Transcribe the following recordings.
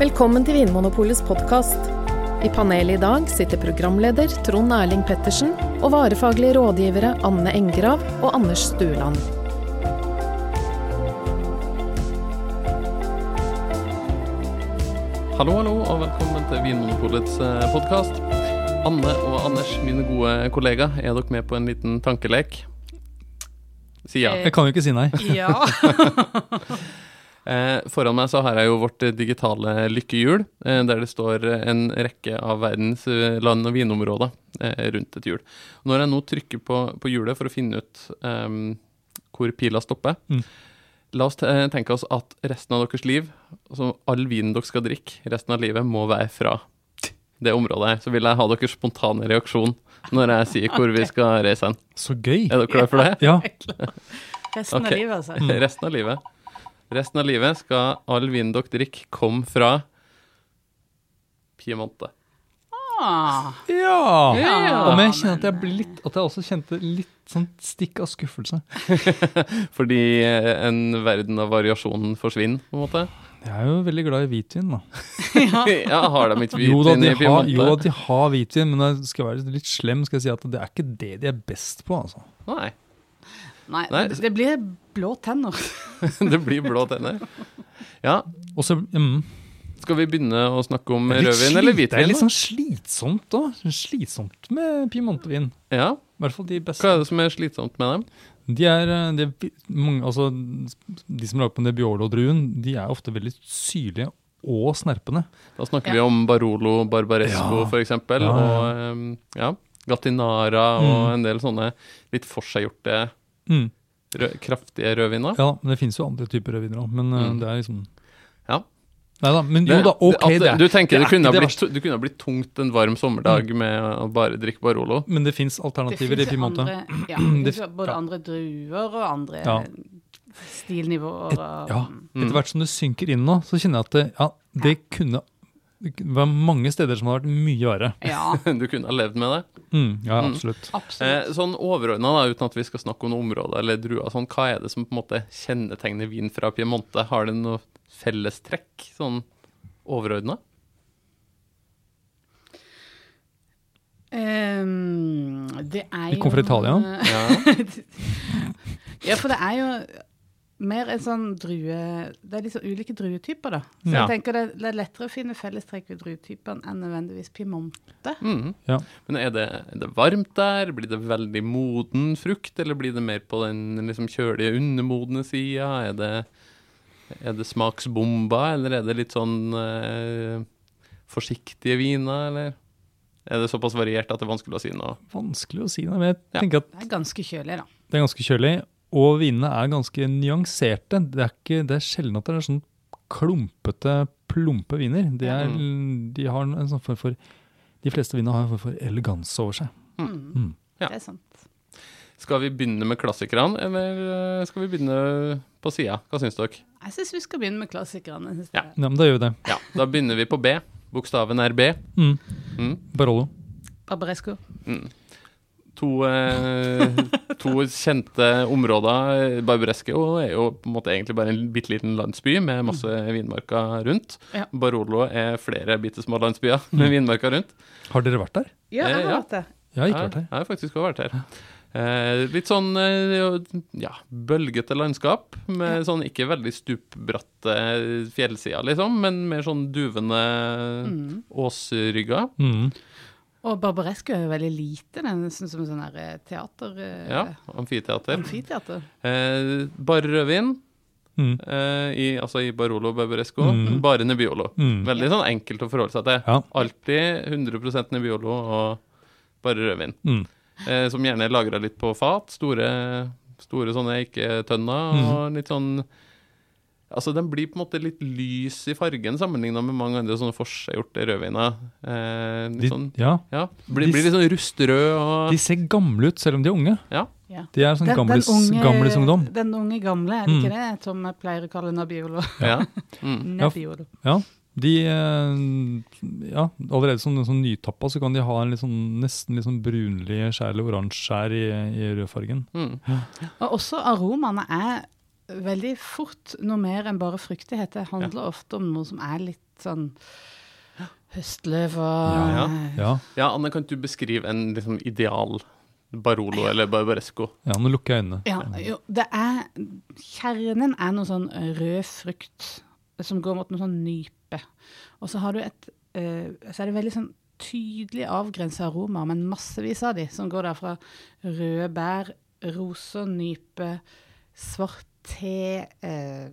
Velkommen til Vinmonopolets podkast. I panelet i dag sitter programleder Trond Erling Pettersen og varefaglige rådgivere Anne Engrav og Anders Stueland. Hallo, hallo, og velkommen til Vinmonopolets podkast. Anne og Anders, mine gode kollegaer, er dere med på en liten tankelek? Si ja. Eh. Jeg kan jo ikke si nei. Ja. Eh, foran meg så har jeg jo vårt eh, digitale lykkehjul, eh, der det står eh, en rekke av verdens eh, land- og vinområder eh, rundt et hjul. Når jeg nå trykker på, på hjulet for å finne ut eh, hvor pila stopper, Mm. la oss eh, tenke oss at resten av deres liv, altså all vinen dere skal drikke, resten av livet må være fra det området her. Så vil jeg ha deres spontane reaksjon når jeg sier hvor vi skal reise hen. Så gøy. Er dere klare for det? Ja. Resten Ok. av livet, altså. Mm. Resten av livet. Resten av livet skal all vinen dere drikker, komme fra Piemonte. Ah, ja. Ja. Om jeg kjenner at jeg blir litt At jeg også kjente litt sånn stikk av skuffelse. Fordi eh, en verden av variasjonen forsvinner, på en måte. Jeg er jo veldig glad i hvitvin, da. Ja, har de ikke Jo da, hvitvin de i har, Piemonte? jo, da, de har hvitvin, men jeg skal være litt slem skal jeg si at det er ikke det de er best på, altså. Nei. nei, Nei. det- det blir blå tenner. Det blir blå tenner. Ja. Og så mm, Skal vi begynne å snakke om det er litt rødvin eller slit- Det er hvitvin? litt sånn slitsomt òg. Slitsomt med piemontevin. da? Ja. I hvert fall de Hva beste. er det som er slitsomt med dem? De er, eh, de, er vi- mange, altså, de som lager på Nebbiolo-druen, de er ofte veldig syrlige og snerpende. Da snakker Ja. vi om Barolo, Barbaresco Ja. for f.eks., Ja, Mm. ja, ja. og ehm, ja, Gatinara og en del sånne litt forseggjorte, Mm. rød, kraftige rødviner. Ja, men det finnes jo andre typer rødviner òg, men eh, Mm. det er liksom Ja. Nei da, men jo Det- da, ok, at det er Du tenker det, er kunne ikke ha det Mm. blitt, du kunne ha blitt tungt en varm sommerdag med å bare drikke Barolo. Men det fins alternativer i finnes jo Piemonte. andre- Ja, Det fin- det finnes både ja. andre druer og andre Ja. stilnivåer. Og, Ja, Mm. Etter hvert som det synker inn nå, så kjenner jeg at det, ja, det kunne det var mange steder som hadde vært mye verre. Ja, Du kunne ha levd med det. Mm, ja, Mm. absolutt. absolutt. Eh, sånn overordna, uten at vi skal snakke om noe område eller druer, sånn, hva er det som på en måte kjennetegner vin fra Piemonte? Har det noe fellestrekk, sånn overordna? Ehm, det er jo eh, Vi kom fra Italia. Ja. Ja, for det er jo mer en sånn drue Det er liksom ulike druetyper, da. Så Ja. jeg tenker det, det er lettere å finne fellestrekk ved druetypene enn nødvendigvis Piemonte. Mhm. Ja. Men er det, er det varmt der? Blir det veldig moden frukt, eller blir det mer på den liksom, kjølige, undermodne sida? Er, det- er det smaksbomba, eller er det litt sånn eh, forsiktige viner, eller? Er det såpass variert at det er vanskelig å si noe? Vanskelig å si det, men jeg Ja. tenker at Det er ganske kjølig, da. det er ganske kjølig. Og vinene er ganske nyanserte. Det er, ikke, det er sjelden at det er sånn klumpete, plumpe viner. De, er, Mm. de har en sånn form for De fleste vinene har en form for eleganse over seg. Mm. Ja. Det er sant. Skal vi begynne med klassikerne, eller eh, skal vi begynne på sida? Hva syns dere? Jeg syns vi skal begynne med klassikerne. jeg Synes Ja. det er Ja, men da gjør vi det. Ja, da begynner vi på B. Bokstaven er B. Mm. Mm. Barolo. Barbaresco. to, eh, to kjente områder. Barbaresco er jo på en måte egentlig bare en bitte liten landsby med masse vinmarker rundt. Ja. Barolo er flere bitte små landsbyer med vinmarker rundt. Har dere vært der? Ja, Eh, jeg har ja. hatt det. Jeg har ikke vært Jeg- her. Jeg har faktisk også vært her. Eh, litt sånn eh, ja, bølgete landskap, med sånn ikke veldig stupbratte fjellsider, liksom, men mer sånn duvende åsrygger. Mm. Og Barbaresco er jo veldig lite. Den er sånn som en sånn her eh, teater... eh, Ja, amfiteater. Amfiteater. Eh, Barrødvin. Mm. eh, i, altså i Barolo Barbaresco. Mm. Bare Nebbiolo. Mm. Veldig sånn enkelt å forholde seg til. Ja. Alltid 100 Nebbiolo og bare rødvin. Mm. Eh, som gjerne er lagra litt på fat. Store, store sånne eiketønner. Mm. Og litt sånn Altså, den blir på en måte litt lys i fargen sammenligna med mange andre sånne forseggjorte rødviner. Eh, litt De, sånn, ja. ja, blir, de- blir litt sånn rustrød og de ser gamle ut, selv om de er unge. Ja. Ja. De er sånn gamlis, gamlisungdom. Den unge gamle, er det ikke det som jeg pleier å kalle Nabiolo? Mm. ja. Nabiolo. Ja. De eh, ja, Allerede som, som nytappa så kan de ha en litt sånn, nesten litt sånn brunlig skjær eller oransje skjær i, i rødfargen. Mm. Og også aromaene er veldig fort noe mer enn bare fruktighet. Det handler ofte om noe som er litt litt sånn høstløv og Ja. Ja, Ja, Anne, kan du beskrive en liksom, ideal Barolo eller Barbaresco? ja nå lukker jeg øynene. Ja, jo, det er Kjernen er noe sånn rød frukt som går mot noe sånn nype. Og så har du et eh, Så er det veldig sånn tydelig avgrensa aromaer, men massevis av de, som går der fra røde bær, roser, nype, svart te eh,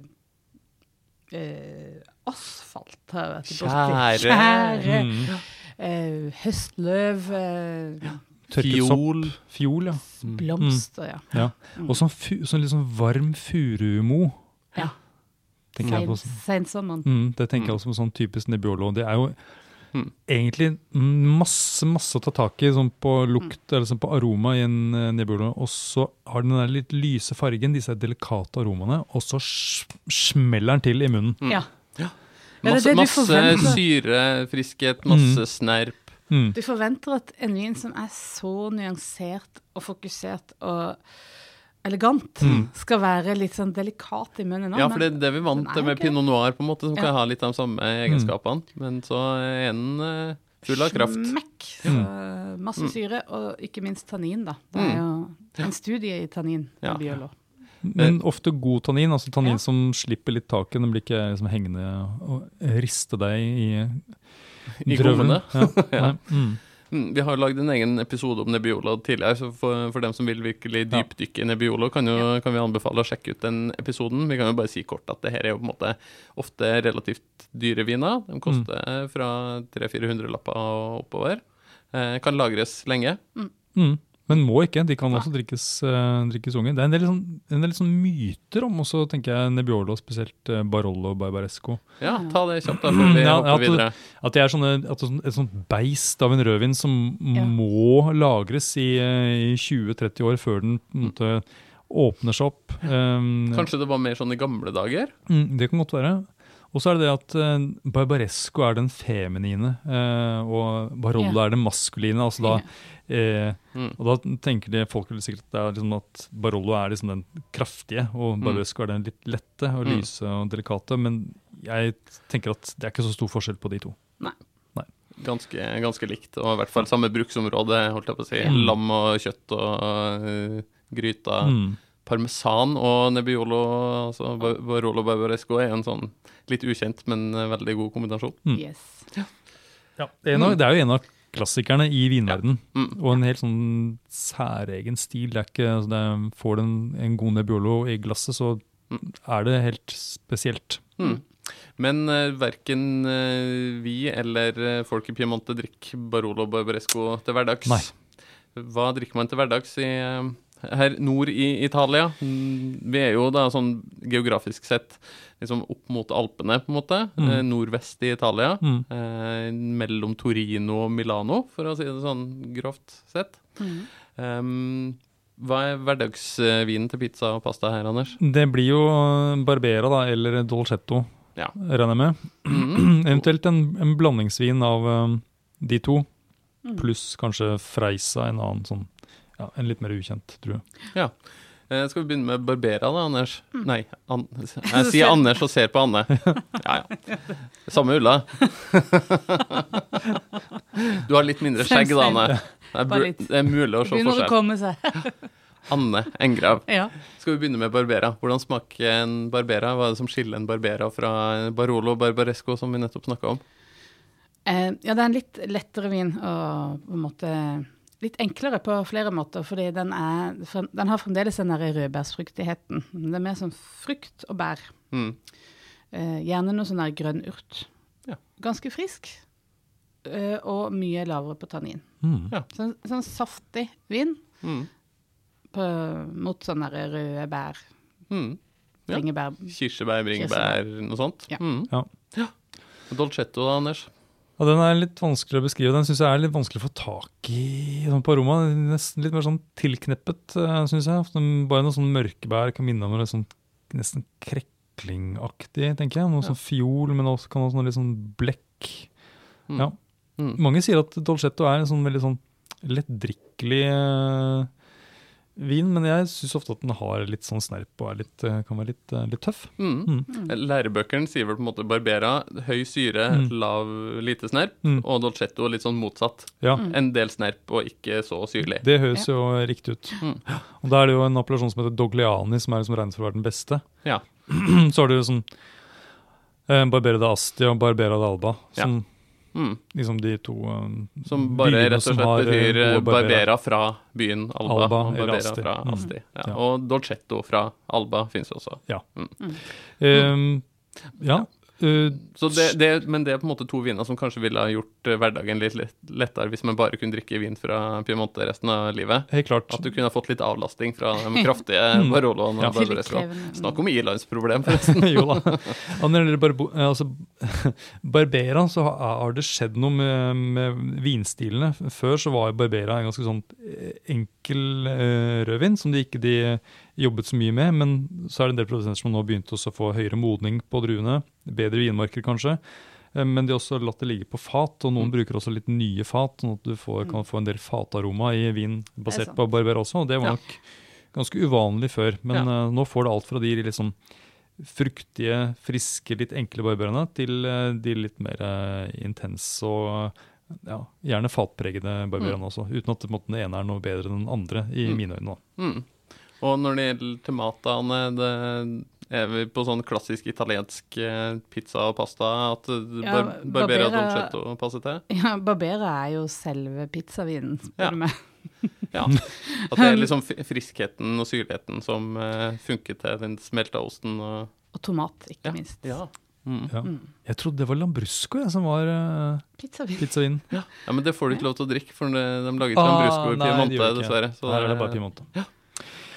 eh, Asfalt har jeg vært borti. Tjære. Tjære. Mm. Eh, høstløv. Eh, Tørket Fiol. sopp. Fiol, ja. blomster, ja. ja. Og sånn, fu, sånn litt sånn varm furumo. ja. tenker jeg på. sånn. Sein- Sensommeren. Mm, det tenker jeg også på sånn typisk Nebbiolo. Det er jo Mm. egentlig masse masse å ta tak i sånn på Mm. lukt eller sånn på aroma i en eh, Nebbiolo. Og så har den der litt lyse fargen, disse delikate aromaene, og så sm- smeller den til i munnen. Ja. Ja, det Masse, er det du masse forventer. syre, friskhet, masse Mm. snerp. Mm. Du forventer at en vin som er så nyansert og fokusert og elegant, skal være litt sånn delikat i munnen. nå, Mm. Ja, for det men- er det vi vant den er til med ikke- pinot noir, på en måte, som Ja. kan ha litt av de samme Mm. egenskapene. Men så er den eh, full av kraft. Mm. Smekk! Så, masse syre, og ikke minst tannin, da. Det er jo en studie i tannin. Ja. i Biolo. Mm. Men ofte god tannin, altså tannin Ja. som slipper litt taket. Den blir ikke liksom, hengende og riste deg i I drøvelen. gommene. Ja. Ja. Nei, Mm. Mm, Vi har jo lagd en egen episode om Nebbiolo tidligere, så for, for dem som vil virkelig Ja. dypdykke i Nebbiolo, kan, jo, kan vi anbefale å sjekke ut den episoden. Vi kan jo bare si kort at det her er jo på en måte ofte relativt dyre viner. Mm. De koster eh, fra 300-400 lapper og oppover. Eh, kan lagres lenge. Mm. Men må ikke. De kan også drikkes, uh, drikkes unge. Det er en del, sånn, en del sånn myter om også, tenker jeg, Nebbiolo, spesielt eh, Barolo og Barbaresco. Ja, ta det kjapt, da, før vi Mm. Ja, hopper at- videre. At det er sånne, at det er sånn- et sånt beist av en rødvin som Ja. må lagres i, eh, i 20-30 år før den på en måte, åpner seg opp. Um, Kanskje det var mer sånn i gamle dager? Mm, det kan godt være. Og så er det det at eh, Barbaresco er den feminine, eh, og Barolo Ja. er den maskuline. altså da, eh, Mm. Og da tenker de folk vil sikkert at, det er liksom at Barolo er liksom den kraftige, og Barbaresco er den litt lette og Mm. lyse og delikate. Men jeg tenker at det er ikke så stor forskjell på de to. Ganske, ganske likt, og i hvert fall samme bruksområde, holdt jeg på å si. Mm. Lam og kjøtt og eh, gryta. Mm. Parmesan og Nebbiolo, altså Ba- Barolo Barbaresco, er en sånn litt ukjent, men eh, veldig god kombinasjon. Mm. Yes. Det, er en av, det er jo en av klassikerne i vinverden, Mm. og en helt sånn særegen stil. Det er ikke, altså det er, får du en, en god Nebbiolo i glasset, så er det helt spesielt. Mm. Men uh, verken eh, vi eller eh, folk i Piemonte drikker Barolo Barbaresco til hverdags. Nei. Hva drikker man til hverdags i, eh, her nord i Italia? Mm, Vi er jo da sånn geografisk sett liksom opp mot Alpene, på en måte. Mm. eh, Nordvest i Italia. Mm. eh, mellom Torino og Milano, for å si det sånn grovt sett. Mhm. Um, hva er hverdagsvinen til pizza og pasta her, Anders? Det blir jo Barbera da, eller Dolcetto, Ja. regner jeg med. Mm. Eventuelt en, en blandingsvin av um, de to, pluss kanskje Freisa, en annen sånn, ja, en litt mer ukjent drue. Eh, skal vi begynne med Barbera, da, Anders? Mm. Nei, an jeg sier Anders og ser på Anne. Ja, ja. Samme ulla. Du har litt mindre skjegg, da, Anne. Det er, Bare bur- litt. det er mulig å se Begynner å forskjell. komme seg. Anne Engrav. ja. Skal vi begynne med Barbera? Hvordan smaker en Barbera? Hva er det som skiller en Barbera fra Barolo Barbaresco, som vi nettopp snakka om? Eh, ja, det er en litt lettere vin og på en måte litt enklere på flere måter, fordi den, er, frem- den har fremdeles den der rødbærsfruktigheten. Men Det er mer sånn frukt og bær. Mm. Eh, gjerne noe sånn der grønn urt. Ja. Ganske frisk, eh, og mye lavere på tannin. Mm. Sånn, sånn saftig vin Mm. på, mot sånne der røde bær, Mm. Ja. bringebær. Kirsebær, bringebær, noe sånt? Ja. Mm. Ja. Dolcetto da, Anders? Ja, den er litt vanskelig å beskrive. Den syns jeg er litt vanskelig å få tak i sånn på aroma. Den er Nesten litt mer sånn tilkneppet, syns jeg. Ofte Bare noe sånn mørkebær kan minne om noe sånn nesten kreklingaktig, tenker jeg. Noe sånn fiol, men også kan også noe litt sånn blekk. Mm. Ja. Mm. Mange sier at Dolcetto er en sånn veldig sånn lettdrikkelig eh, vin, men jeg syns ofte at den har litt sånn snerp og er litt, eh, kan være litt, eh, litt tøff. Mm. Lærebøkene sier vel på en måte Barbera, høy syre, lav, lite snerp, Mm. og Dolcetto litt sånn motsatt. Ja, En del snerp og ikke så syrlig. Det høres jo riktig ut. Mm. Og Da er det jo en appellasjon som heter Dogliani, som er liksom regnet for å være den beste. Ja. Så har du liksom eh, Barbera da Asti og Barbera da Alba, som Mm. liksom de to eh, Som bare byene rett og som slett har, eh, betyr eh, gode Barbera fra byen Alba, Alba og eller Barbera Asti. fra Mm. Asti. Ja. Ja. Og Dolcetto fra Alba fins også. Eh, ja. eh, Så det, det, men det er på en måte to viner som kanskje ville ha gjort eh, hverdagen litt lett- lettere hvis man bare kunne drikke vin fra Piemonte resten av livet. helt klart. At du kunne ha fått litt avlasting fra de kraftige Mm. Baroloene. Ja. og Barbarescoene. Tilleggskrevende. Snakk om ilandsproblem, forresten. jo da. Og når det gjelder barbo, eh, altså, Barbera, så har, har det skjedd noe med, med vinstilene. Før så var Barbera en ganske sånn eh, enkel eh, rødvin, som de ikke de jobbet så mye med. Men så er det en del produsenter som nå begynte også å få høyere modning på druene. Bedre vinmarker, kanskje. Eh, Men de har også latt det ligge på fat, og noen bruker også litt nye fat, sånn at du får, kan få en del fataroma i vin Det er basert på Barbera også. Og det var Ja. nok ganske uvanlig før, men eh, nå får du alt fra de liksom fruktige, friske, litt enkle barberene til eh, de litt mer eh, intense og eh, ja, gjerne fatpregede barberene også. Uten at på en måte, den ene er noe bedre enn den andre, i Mm. mine øyne. da. Mm. Og når det gjelder tomatene, det er vi på sånn klassisk italiensk eh, pizza og pasta at eh, Ja, bar Barbera Barbera- dolcetto passer til? Ja, Barbera er jo selve pizzavinen, spør Ja. du meg. Ja. At det er liksom fri- friskheten og syrligheten som eh, funker til den smelta osten og Og tomat, ikke Ja. minst. ja. Mm. Ja. Jeg trodde det var Lambrusco jeg, som var eh, Pizzavin. pizzavin. ja, men det får du ikke lov til å drikke, for de, de lager ikke Ah, Lambrusco i nei, de Piemonte, gjør ikke. dessverre. Så Her er det det- bare Piemonte.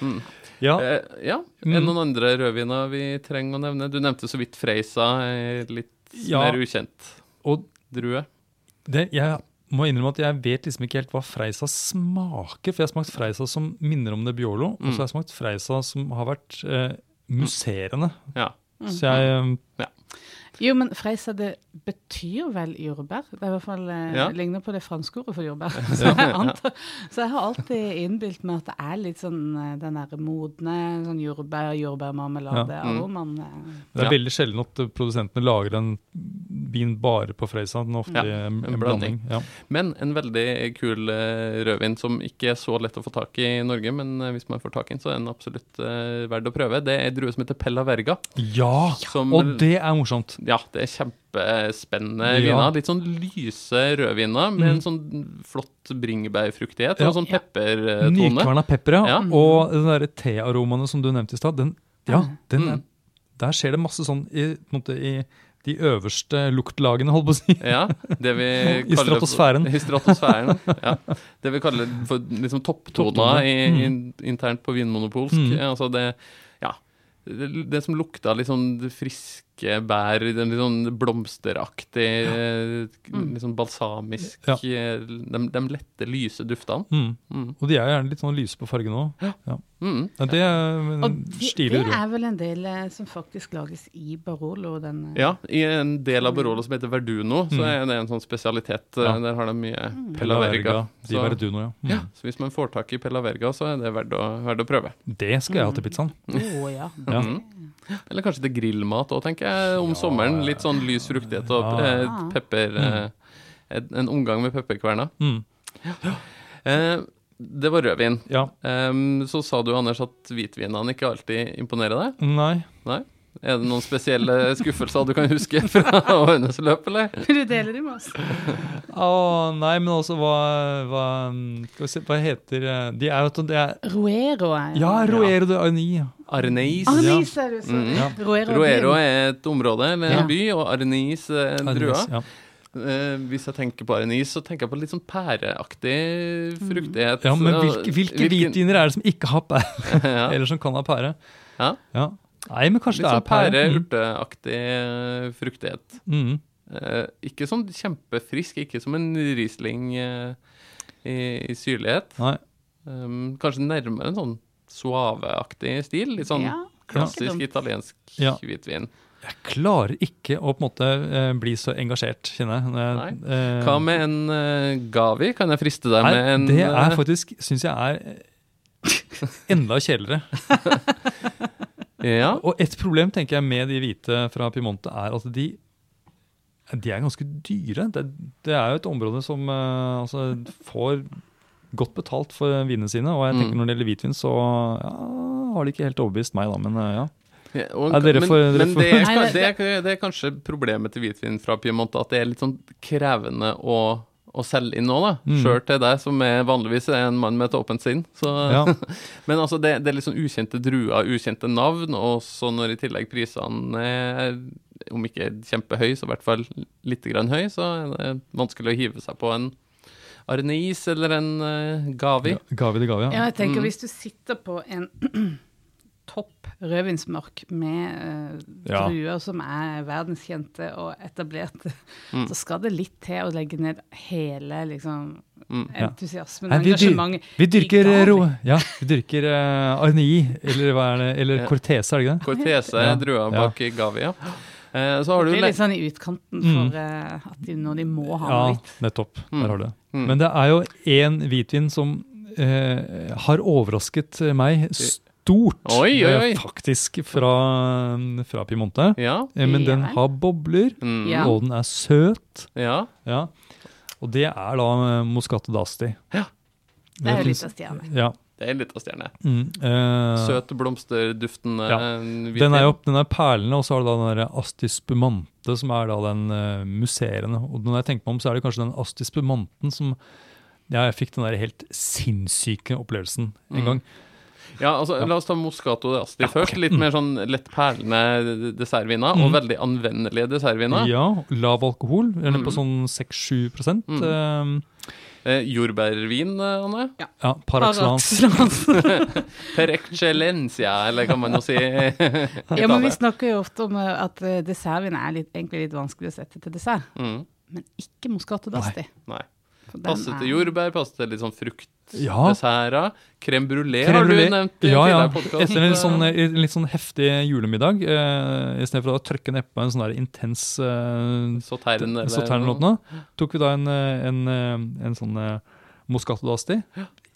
Mm. Ja, Eh, ja. Er det Mm. noen andre rødviner vi trenger å nevne? Du nevnte så vidt Freisa, eh, litt Ja. mer ukjent og drue. det, jeg må innrømme at jeg vet liksom ikke helt hva Freisa smaker, for jeg har smakt Freisa som minner om Nebbiolo, Mm. og så har jeg smakt Freisa som har vært eh, musserende. Ja. Så jeg eh, Jo, men freisa, det betyr vel jordbær? Det er i hvert fall eh, Ja. ligner på det franske ordet for jordbær. Så jeg, antar, så jeg har alltid innbilt meg at det er litt sånn eh, den derre modne sånn jordbær, jordbærmarmelade, Ja. Mm. aromaen eh. Det er Ja. veldig sjelden at eh, produsentene lager en vin bare på Freisa. Den er ofte Ja, i, eh, en, en blanding. Ja. Men en veldig kul eh, rødvin som ikke er så lett å få tak i i Norge, men eh, hvis man får tak i den, så er den absolutt eh, verd å prøve. Det er en drue som heter Pella Verga. Ja, Som, Og det er morsomt! Ja, det er kjempespennende Ja. Mhm. viner. Litt sånn lyse rødviner med en sånn flott bringebærfruktighet og Ja. sånn peppertone. Nykverna pepper, ja. Ja. Mm. Og den derre tearomaene som du nevnte i stad, den, ja, den Mm. er, der skjer det masse sånn i, på en måte, i de øverste luktlagene, holdt på å si. Ja, det vi I kaller- stratosfæren. I stratosfæren, ja. Det vi kaller for liksom topptoner Topptoner, i, mm. i, internt på Vinmonopolsk. Mm. Altså det, ja, det, det som lukta litt sånn friske bær, den litt sånn blomsteraktig, litt sånn balsamisk, Mm. Ja. de, de lette, lyse duftene. Mm. Mm. Og de er jo gjerne litt sånn lyse på fargen òg. Mm. Ja, det er Og en det, stilig det drue. er vel en del eh, som faktisk lages i Barolo, den eh, Ja, i en del av Barolo som heter Verduno, så Mm. er det en sånn spesialitet. Ja. Der har de mye Pella Pella Verga. Verga, Di Så- Verduno, ja. Mm. Ja, så hvis man får tak i Pella Verga, så er det verdt å, verdt å prøve. Det skal jeg ha Mm. til pizzaen. Å ja. Ja. Mm. Eller kanskje til grillmat òg, tenker jeg, om sommeren. Litt sånn lys fruktighet og eh, Ja. pepper eh, en, en omgang med pepperkverna. Mm. Eh, det var rødvin. Ja. Em, så sa du, Anders, at hvitvinene ikke alltid imponerer deg. Nei. Nei? Er det noen spesielle skuffelser du kan huske fra Årenes løp, eller? Vil du dele det med oss? Å, nei, men altså, hva, hva Skal vi se, hva heter eh, De er jo at det er Ruero er Ja, Roero de Arni. ja. Arneis. Arnis er det så. Mm. Ja. Ruero, Roero byen. er et område, eller Ja. en by, og Arneis er en drue. Arnis, ja. Eh, hvis jeg tenker på Arnis, så tenker jeg på litt sånn pæreaktig fruktighet. Mm. ja, men hvilke, hvilke hvitviner er det som ikke har pære, ja. eller som kan ha pære? Ja. Ja. Nei, men kanskje Litt sånn det er pære. pære, urteaktig eh, fruktighet. Mm. Mm. Eh, ikke sånn kjempefrisk, ikke som en Riesling eh, i, i syrlighet. Nei. Um, kanskje nærmere en sånn suaveaktig stil. Litt sånn Ja, klassisk ikke dumt. italiensk Ja. hvitvin. Jeg klarer ikke å på en måte eh, bli så engasjert, kjenner jeg. når jeg, eh, Hva med en eh, Gavi? Kan jeg friste deg med nei, en Det eh, er faktisk, syns jeg er eh, Enda kjedeligere. eh, Ja. Og et problem tenker jeg med de hvite fra Piemonte er at de, de er ganske dyre. Det, det er jo et område som eh, altså, får godt betalt for vinene sine. Og jeg tenker Mm. når det gjelder hvitvin, så ja, har de ikke helt overbevist meg, da. Men eh, ja. Ja, og, Ja, dere men får- dere men får- det, er, Nei, det- det, er, det er kanskje problemet til hvitvin fra Piemonte, at det er litt sånn krevende å, å selge inn nå, da. Mm. Sjøl til deg, som er vanligvis er en mann med et åpent sinn. Så. ja. Men altså, det, det er litt sånn ukjente druer, ukjente navn, og så når i tillegg prisene er om ikke kjempehøy, så i hvert fall litt grann høy, så er det vanskelig å hive seg på en Arneis eller en eh, Gavi. Ja, Gavi de Gavi, Ja, ja. jeg tenker Mm. hvis du sitter på en topp rødvinsmark med eh, Ja. druer som er verdenskjente og etablerte, Mm. så skal det litt til å legge ned hele liksom, Mm. Ja. entusiasmen Nei, og vi dyr- engasjementet. Vi dyrker, i eh, Gavi. ro, ja, vi dyrker eh, Arnei, eller, hva er det, eller Ja. Cortese, er det ikke det? Cortese Ja, er drua ja. bak Gavi, ja. Eh, så har du Det er le- litt sånn i utkanten Mm. for eh, at de, når de må ha noe Ja, litt. nettopp. Mm. Der har du det. Mm. Men det er jo én hvitvin som eh, har overrasket meg stort, Oi, oi, oi. eh, faktisk, fra, fra Piemonte. Ja. Eh, men den Ja. har bobler, Mm. Ja. og den er søt. ja. Ja. Og det er da eh, Moscato d'Asti. Ja. Det er jo litt finnes- av stjerne. Ja. Det er litt av stjerne. Mm, eh, Søt, blomsterduftende Ja. eh, hvitvin. Den er, jo, den er perlende, og så har du da den der Astis Spumante, som er da den eh, musserende. Og når jeg tenker meg om, så er det kanskje den Astis Spumanten som ja, jeg fikk den der helt sinnssyke opplevelsen en Mm. gang. Ja, altså, La oss ta Moscato d'Asti først. Mm. Litt mer sånn lett perlende dessertviner, og veldig anvendelige dessertviner. Ja, Lav alkohol, eller Mm. på sånn 6-7 prosent. Eh, jordbærvin, eh, Anne. eh, ja, Paraxlans. Paraxylans. Per excellencia, eller kan man jo si. Mm. ja, men vi snakker jo ofte om eh, at eh, dessertvin er litt, egentlig litt vanskelig å sette til dessert, Mm, men ikke Moscato d'Asti. nei. for den Passe er- til jordbær, passe til litt sånn Ja. fruktdesserter. Crème brulé Crème har du brûlée. nevnt i en Ja, ja. tidligere podcast. eh, Etter en litt sånn, en litt sånn heftig julemiddag, eh, i stedet for å trykke nedpå en sånn der intens eh, Sauterne, eller noe. Sauternlåtene. Tok vi da en, eh, en, eh, en sånn eh, Moscato d'Asti.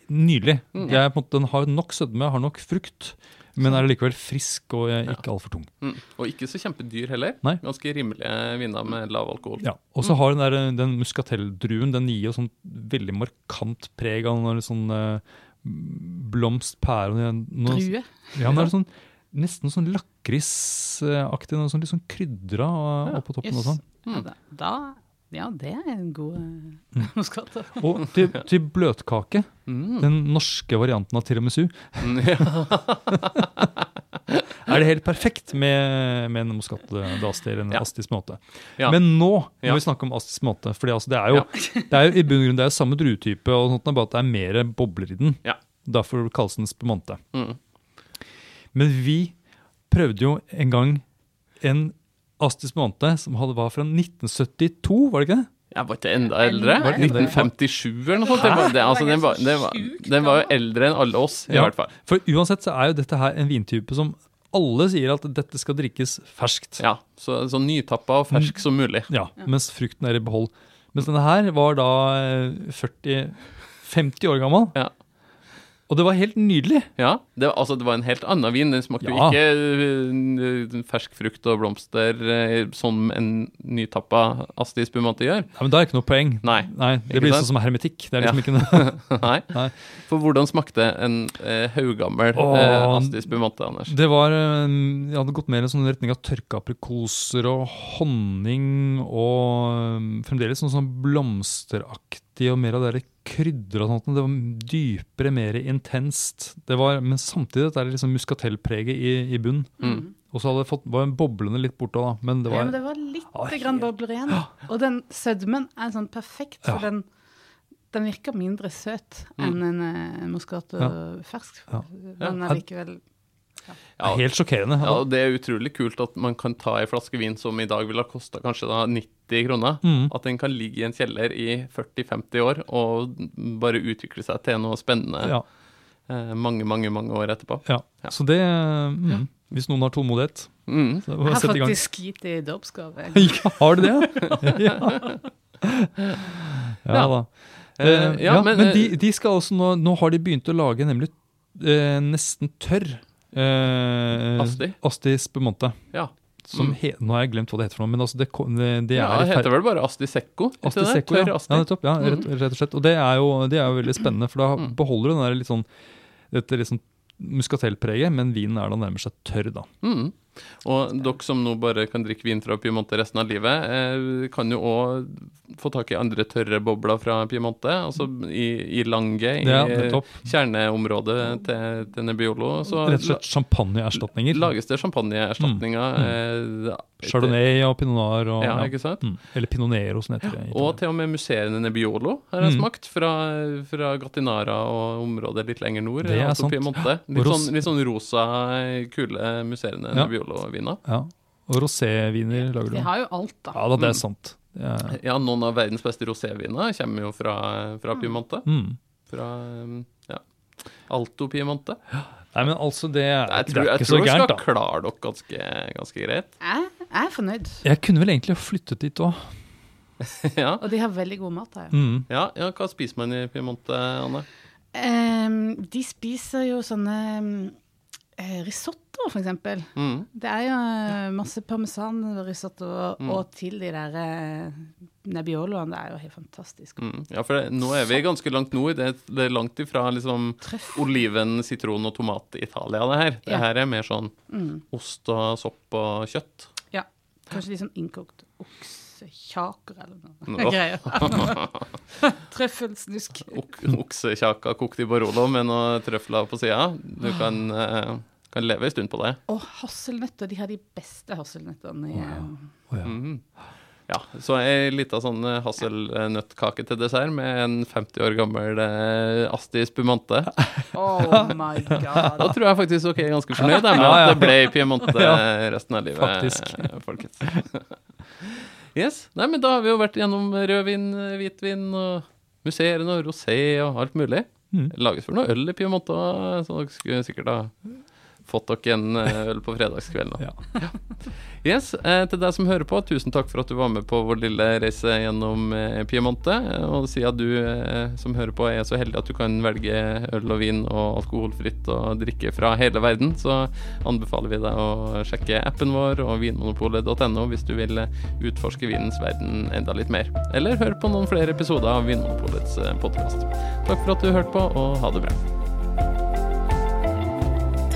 Nydelig. Mm. Det er, på en måte, den har nok sødme, har nok frukt, men er likevel frisk og eh, ikke altfor tung. Mm. Og ikke så kjempedyr heller. Nei. Ganske rimelige viner med lav alkohol. Ja. Og Mm. så har den, der, eh, den muskateldruen, den gir jo sånn veldig markant preg av noe sånn eh, blomst, pære og noe- noe- Drue. Ja, men det er sånn, nesten sånn lakrisaktig, noe sånn litt sånn krydra eh, Ja, oppå toppen Jøss. og sånn. Ja, da, da Ja, det er en god Mm. eh, moskato. Og til, til bløtkake, Mm. den norske varianten av tiramisu, Mm, ja. er det helt perfekt med, med en moskatte-dasti eller en Ja. astisk måte. Ja. Men nå må Ja. vi snakke om astisk måte, for altså, det, er jo- det er jo i bunn og grunn det er jo samme druetype, og sånt, bare at det er mer bobler i den. Ja. Derfor kalles den spumante. Mm. Men vi prøvde jo en gang en astisk måned som hadde, var fra 1972, var det ikke det? Jeg var ikke enda eldre. Var den eldre? 1957 eller noe sånt. Det var, det, altså, den, var, den, var, den var jo eldre enn alle oss, i Ja. hvert fall. For uansett så er jo dette her en vintype som alle sier at dette skal drikkes ferskt. Ja, Så, så nytappa og fersk som mulig. Ja, mens frukten er i behold. Mens denne her var da eh, 40 50 år gammel. Ja. Og det var helt nydelig. Ja, det, var- altså, det var en helt annen vin. Den smakte jo Ja. ikke øh, øh, fersk frukt og blomster øh, som en nytappa Asti Spumante gjør. Ja, men da er det ikke noe poeng. Nei. Det Ikke blir sant? sånn som hermetikk. Det er liksom Ja. ikke noe. Nei. Nei. For hvordan smakte en eh, haugammel Åh. eh, Asti Spumante, Anders? Det var eh, Jeg hadde gått mer i sånn retning av tørka aprikoser og honning og eh, fremdeles sånn, sånn blomsteraktig og mer av det der krydder og sånt. Det var dypere, mer intenst. Det var, men samtidig dette er liksom muskatellpreget i, i bunn. Mm. Og så hadde det fått, var boblene litt borte, da. Men det Ja, men var det var litt Ja, helt- grann bobler igjen. Og den sødmen er sånn perfekt, for Ja. den, den virker mindre søt enn en eh, Moscato Ja. fersk. Ja. Men Ja. allikevel Ja, helt sjokkerende. ja, og det er utrolig kult at man kan ta ei flaske vin som i dag ville ha kosta kanskje da 90 kroner. Mm. At den kan ligge i en kjeller i 40-50 år og bare utvikle seg til noe spennende Ja, eh, mange, mange mange år etterpå. ja. Ja. Så det mm, Hvis noen har tålmodighet, Mm. så Jeg har sett i gang. faktisk gitt det i dåpsgave. Ja, har du det? ja. ja da. Eh, Eh, ja, ja, men, men, eh, de, de skal også nå, nå har de begynt å lage nemlig eh, nesten tørr eh, Asti? Asti spumante. Ja. Mm. Som he, nå har jeg glemt hva det heter, for noe, men altså det, ko- det, det ja, er det i fer- heter vel bare Asti Secco? ikke Asti det? Secco, Tørr ja. Asti. Ja, nettopp, ja rett, Mm. rett og slett. Og det er jo, det er jo veldig spennende, for da beholder du den der litt sånn, dette litt sånn muskatelpreget, men vinen er da nærmer seg tørr, da. Mm. Og dere som nå bare kan drikke vin fra Piemonte resten av livet, eh, kan jo òg få tak i andre tørre bobler fra Piemonte. Altså i, i Lange, i Ja, nettopp. kjerneområdet til, til Nebbiolo. Så Rett og slett champagneerstatninger. la- lages det champagneerstatninger. eh, etter- Chardonnay og pinot noir. Og, Ja, ikke sant? Mm. Eller pinot nero, som det heter. i Og Italia. til og med musserende Nebbiolo har jeg Mm. smakt, fra, fra Gattinara og området litt lenger nord. Det er altså sant. Piemonte. Og Litt ros- sånn, litt sånn rosa, kule musserende Ja. Nebbiolo-viner. ja. og roséviner lager du. Vi Ja har jo alt, da. da, Mm. det er sant. Det er- Ja, noen av verdens beste roséviner kommer jo fra, fra Piemonte. Mm. Fra ja, Alto Piemonte. Nei, men altså, det er, Jeg det tror, er jeg ikke så tror dere gærent, skal da. klare dere ganske, ganske greit. Jeg, jeg er fornøyd. Jeg kunne vel egentlig ha flyttet dit òg. ja. Og de har veldig god mat her. Mm. Ja, ja, hva spiser man i Piemonte, Anne? Ehm, de spiser jo sånne ehm, eh, risottoer, for eksempel. Mm. Det er jo eh, masse parmesan-risotto, og til de der eh, nebbioloene. Det er jo helt fantastisk. Mm. Ja, for det, nå er vi ganske langt nord. Det, er- det er langt ifra liksom oliven, sitron og tomat i Italia, det her. Det Ja. her er mer sånn ost og sopp og kjøtt. Ja. Kanskje litt sånn innkokt oksekjaker eller noe Nå. greier. Trøffelsnusk. Ok, Oksekjaka kokt i Barolo med noen trøfler på sida. Du kan, eh, kan leve en stund på det. Og hasselnøtter. De har de beste hasselnøttene. i, eh, Å, ja. Mm. Ja, så ei lita sånn eh, hasselnøttkake til dessert med en 50 år gammel eh, Asti Spumante. Oh my god. Da tror jeg faktisk dere er ganske fornøyd jeg, med at det ble Piemonte resten av livet. faktisk. eh, Folkens. Yes. Nei, men da har vi jo vært gjennom rødvin, eh, hvitvin og musserende og rosé og alt mulig. Mm. Det Lages vel noe øl i Piemonte, også, så dere skulle sikkert ha fått dere en eh, øl på fredagskvelden. da. Ja. Yes, eh, Til deg som hører på, tusen takk for at du var med på vår lille reise gjennom eh, Piemonte. Eh, Og siden du eh, som hører på er så heldig at du kan velge øl og vin og alkoholfritt og drikke fra hele verden, så anbefaler vi deg å sjekke appen vår og vinmonopolet.no hvis du vil eh, utforske vinens verden enda litt mer. Eller hør på noen flere episoder av Vinmonopolets podkast. Takk for at du hørte på, og ha det bra.